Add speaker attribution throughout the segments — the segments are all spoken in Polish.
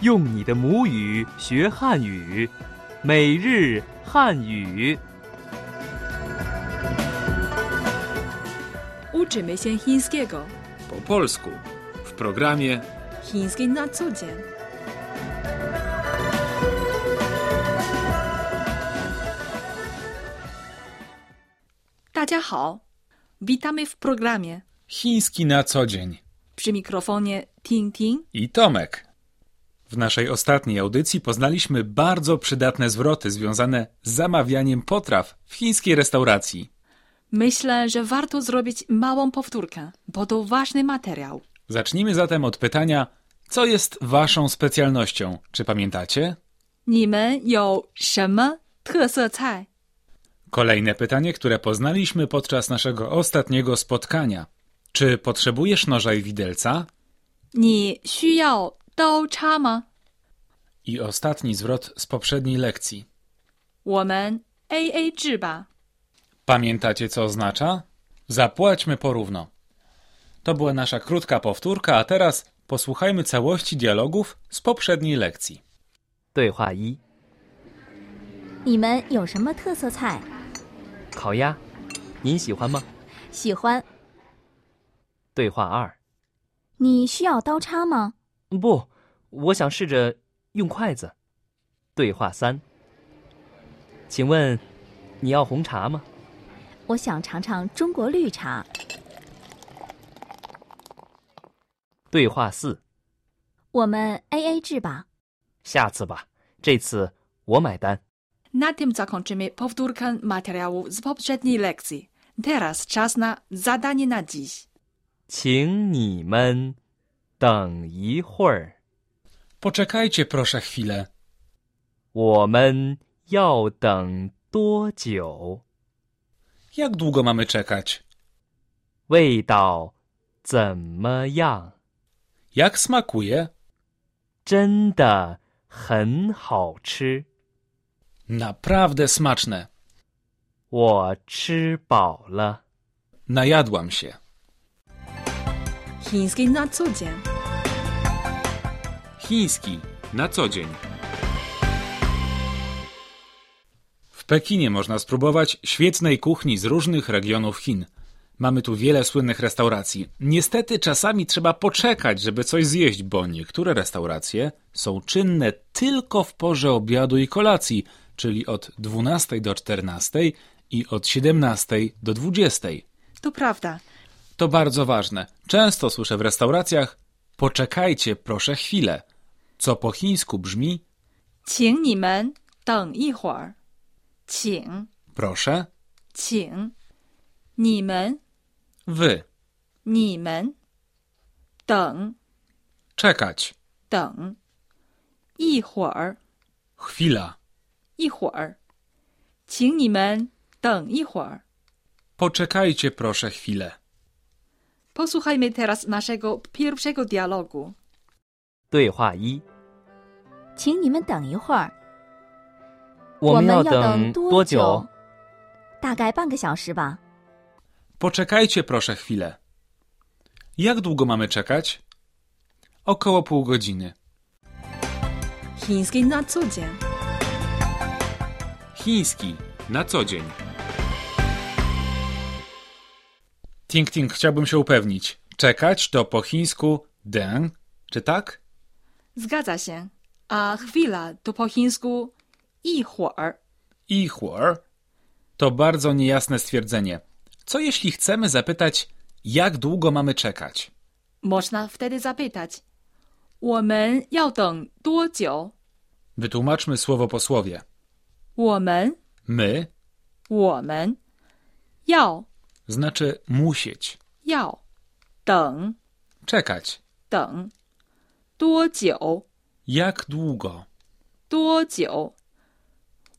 Speaker 1: 用你的母语学汉语，每日汉语。
Speaker 2: Uczymy się chińskiego.
Speaker 3: po polsku w programie
Speaker 2: Chiński na co dzień. Hao. Witamy w programie.
Speaker 3: Chiński na co dzień
Speaker 2: Przy mikrofonie Ting Ting.
Speaker 3: i Tomek. W naszej ostatniej audycji poznaliśmy bardzo przydatne zwroty związane z zamawianiem potraw w chińskiej restauracji.
Speaker 2: Myślę, że warto zrobić małą powtórkę, bo to ważny materiał.
Speaker 3: Zacznijmy zatem od pytania, co jest waszą specjalnością? Czy pamiętacie?
Speaker 2: 你们有什么特色菜？
Speaker 3: Kolejne pytanie, które poznaliśmy podczas naszego ostatniego spotkania. Czy potrzebujesz noża i widelca?
Speaker 2: 你需要刀叉吗？
Speaker 3: I ostatni zwrot z poprzedniej lekcji.
Speaker 2: 我们 A A 制吧。
Speaker 3: Pamiętacie, co oznacza? Zapłaćmy porówno. To była nasza krótka powtórka, a teraz posłuchajmy całości dialogów z poprzedniej lekcji.
Speaker 1: 对话一：
Speaker 4: 你们有什么特色菜？
Speaker 1: 烤鸭，您喜欢吗？
Speaker 4: 喜欢？
Speaker 1: 对话二：
Speaker 4: 你需要刀叉吗？
Speaker 1: 不，我想试着用筷子。对话三：请问你要红茶吗？
Speaker 4: 我想尝尝中国绿茶。
Speaker 1: 对话四：
Speaker 4: 我们 A A 制吧。
Speaker 1: 下次吧，这次我买单。
Speaker 2: Na tym zakończymy powtórkę materiału z poprzedniej lekcji. Teraz czas na zadanie na dziś.
Speaker 1: 请你们等一会儿。
Speaker 3: Poczekajcie proszę chwilę.
Speaker 1: 我们要等多久？
Speaker 3: Jak długo mamy czekać?
Speaker 1: 味道怎么样？
Speaker 3: Jak smakuje?
Speaker 1: 真的很好吃，
Speaker 3: Naprawdę smaczne.
Speaker 1: 我吃饱了。
Speaker 3: Najadłam się.
Speaker 2: Chiński na co dzień.
Speaker 3: Chiński na co dzień. W Pekinie można spróbować świetnej kuchni z różnych regionów Chin. Mamy tu wiele słynnych restauracji. Niestety czasami trzeba poczekać, żeby coś zjeść, bo niektóre restauracje są czynne tylko w porze obiadu i kolacji, czyli od 12 do 14 i od 17 do 20.
Speaker 2: To prawda.
Speaker 3: To bardzo ważne. Często słyszę w restauracjach: poczekajcie, proszę chwilę. Co po chińsku brzmi:
Speaker 2: 请你们等一会儿。请
Speaker 3: proszę,
Speaker 2: 请你们
Speaker 3: wy,
Speaker 2: 你们等
Speaker 3: czekać,
Speaker 2: 等一会儿
Speaker 3: chwila,
Speaker 2: 一会儿，请你们等一会儿。
Speaker 3: poczekajcie proszę chwilę.
Speaker 2: Posłuchajmy teraz naszego pierwszego dialogu.
Speaker 1: 对话一：
Speaker 4: 请你们等一会儿。
Speaker 1: 们
Speaker 4: 要
Speaker 1: 等
Speaker 4: 多
Speaker 1: 久？？
Speaker 4: 大概半个小时吧。
Speaker 3: Poczekajcie proszę chwilę. Jak długo mamy czekać? Około pół godziny.
Speaker 2: Chiński na co dzień.
Speaker 3: Chiński na co dzień. Ting Ting, chciałbym się upewnić. Czekać to po chińsku den, czy tak?
Speaker 2: Zgadza się. A chwila to po chińsku i huer.
Speaker 3: I huor. To bardzo niejasne stwierdzenie. Co jeśli chcemy zapytać, jak długo mamy czekać?
Speaker 2: Można wtedy zapytać. 我们要等多久？
Speaker 3: Wytłumaczmy słowo po słowie.
Speaker 2: 我们
Speaker 3: My
Speaker 2: 我们要
Speaker 3: znaczy musieć,
Speaker 2: 要等
Speaker 3: czekać.
Speaker 2: 等多久
Speaker 3: Jak długo?
Speaker 2: 多久？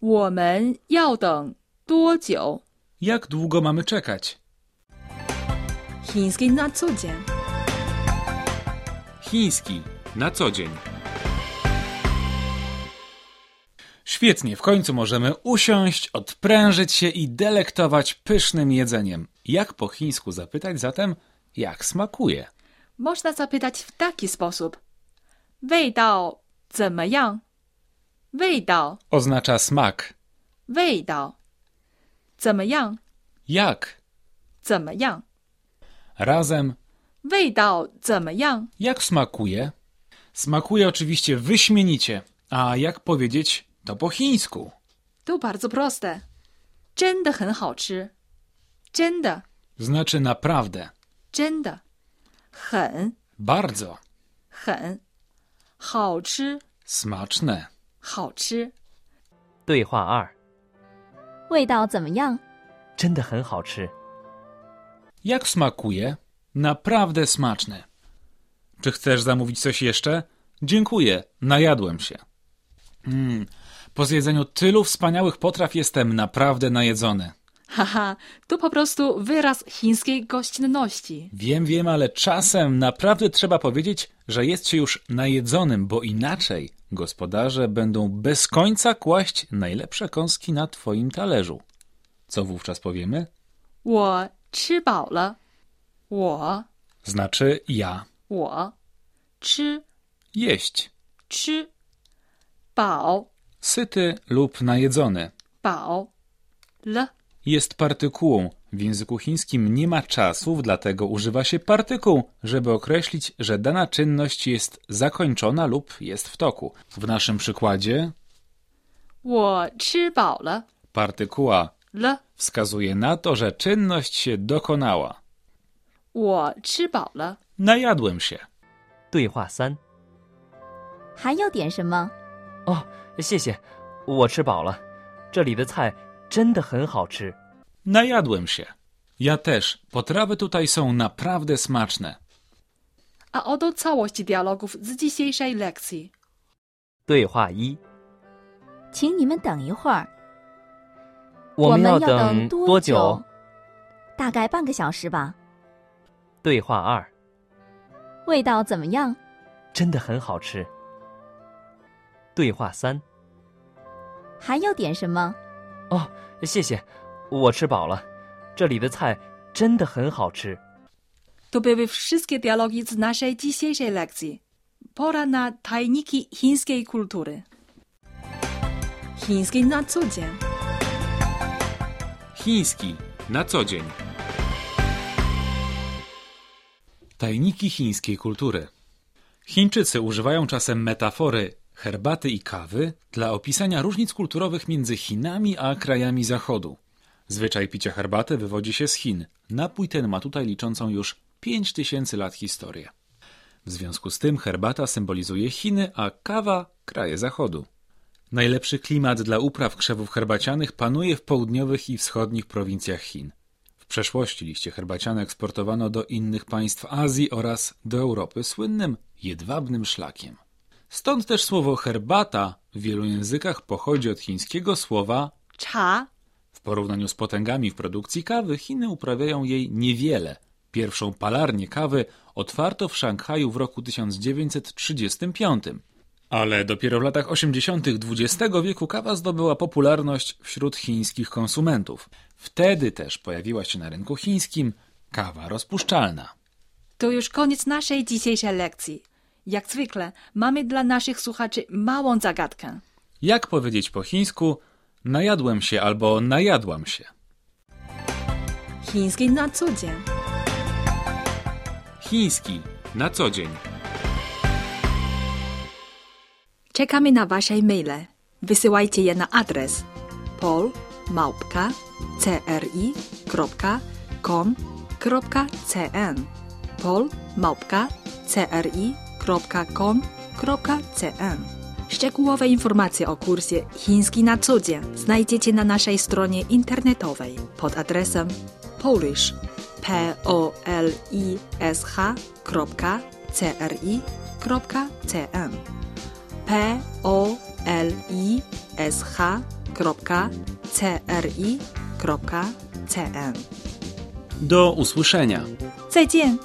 Speaker 2: 我们要等多久
Speaker 3: Jak długo mamy czekać?
Speaker 2: ？Chiński na co dzień.
Speaker 3: Chiński na co dzień. Świetnie, w końcu możemy usiąść, odprężyć się i delektować pysznym jedzeniem. Jak po chińsku zapytać zatem, jak smakuje?
Speaker 2: Można zapytać w taki sposób. 味道怎么样？味道，
Speaker 3: oznacza smak.
Speaker 2: 味道。怎么样？
Speaker 3: Jak?
Speaker 2: 怎么样？
Speaker 3: Razem.
Speaker 2: 味道怎么样？
Speaker 3: Jak smakuje? Smakuje oczywiście wyśmienicie. A jak powiedzieć to po chińsku?
Speaker 2: To bardzo proste. 真的很好吃。真的，
Speaker 3: Znaczy naprawdę.
Speaker 2: 真的，很
Speaker 3: Bardzo.
Speaker 2: 很好吃，
Speaker 3: Smaczne.
Speaker 2: 好吃。
Speaker 1: 对话二，
Speaker 4: 味道怎么样？
Speaker 1: 真的很好吃。
Speaker 3: Jak smakuje? Naprawdę smaczne. Czy chcesz zamówić coś jeszcze? Dziękuję, najadłem się. Mm, po zjedzeniu tylu wspaniałych potraw jestem naprawdę najedzony.
Speaker 2: Haha, to po prostu wyraz chińskiej gościnności.
Speaker 3: Wiem, wiem, ale czasem naprawdę trzeba powiedzieć, że jest się już najedzonym, bo inaczej gospodarze będą bez końca kłaść najlepsze kąski na twoim talerzu. Co wówczas powiemy?
Speaker 2: 我吃饱了，我
Speaker 3: Znaczy ja
Speaker 2: 我吃
Speaker 3: jeść,
Speaker 2: 吃饱
Speaker 3: syty lub najedzony.
Speaker 2: 饱了
Speaker 3: jest partykułą. W języku chińskim nie ma czasów, dlatego używa się partykuł, żeby określić, że dana czynność jest zakończona lub jest w toku. W naszym przykładzie
Speaker 2: 我吃饱了
Speaker 3: partykuła
Speaker 2: 了，
Speaker 3: wskazuje na to, że czynność się dokonała.
Speaker 2: 我吃饱了。
Speaker 3: Najadłem się.
Speaker 1: 对话三，
Speaker 4: 还要点什么？
Speaker 1: 哦，谢谢，我吃饱了。这里的菜真的很好吃。
Speaker 3: Najadłem się. Ja też. Potrawy tutaj są naprawdę smaczne.
Speaker 2: A oto całość dialogów z dzisiejszej lekcji.
Speaker 1: 对话一，
Speaker 4: 请你们等一会儿，
Speaker 1: 我
Speaker 4: 们
Speaker 1: 们
Speaker 4: 要
Speaker 1: 要
Speaker 4: 等
Speaker 1: 等
Speaker 4: 多
Speaker 1: 多
Speaker 4: 久
Speaker 1: 久？？
Speaker 4: 大概半个小时吧。
Speaker 1: 对话二，
Speaker 4: 味道怎么样？
Speaker 1: 真的很好吃。对话三，
Speaker 4: 还要点什么？
Speaker 1: 哦，谢谢，我吃饱了。这里的菜真的很好吃。
Speaker 2: To były wszystkie dialogi z naszej dzisiejszej lekcji. Pora na tajniki chińskiej kultury. Chińskiej na co dzień.
Speaker 3: Chiński na co dzień. Tajniki chińskiej kultury. Chińczycy używają czasem metafory herbaty i kawy dla opisania różnic kulturowych między Chinami a krajami Zachodu. Zwyczaj picia herbaty wywodzi się z Chin. Napój ten ma tutaj liczącą już 5000 lat historię. W związku z tym herbata symbolizuje Chiny, a kawa kraje Zachodu. Najlepszy klimat dla upraw krzewów herbacianych panuje w południowych i wschodnich prowincjach Chin. W przeszłości liście herbaciane eksportowano do innych państw Azji oraz do Europy słynnym jedwabnym szlakiem. Stąd też słowo herbata w wielu językach pochodzi od chińskiego słowa.
Speaker 2: Cza,
Speaker 3: W porównaniu z potęgami w produkcji kawy, Chiny uprawiają jej niewiele. Pierwszą palarnię kawy otwarto w Szanghaju w roku 1935. Ale dopiero w latach 80. XX wieku kawa zdobyła popularność wśród chińskich konsumentów. Wtedy też pojawiła się na rynku chińskim kawa rozpuszczalna.
Speaker 2: to już koniec naszej dzisiejszej lekcji. Jak zwykle, mamy dla naszych słuchaczy małą zagadkę.
Speaker 3: Jak powiedzieć po chińsku najadłem się albo najadłam się?
Speaker 2: Chińskiej na co dzień.
Speaker 3: Chiński na co dzień.
Speaker 2: Czekamy na Wasze e-maile. Wysyłajcie je na adres polmałpka.cri.com.cn polmałpka.cri.com.cn Szczegółowe informacje o kursie Chiński na cudzie znajdziecie na naszej stronie internetowej pod adresem polish p o l i s h c r i c n p o l i s h c r i c n
Speaker 3: Do usłyszenia.
Speaker 2: 再见。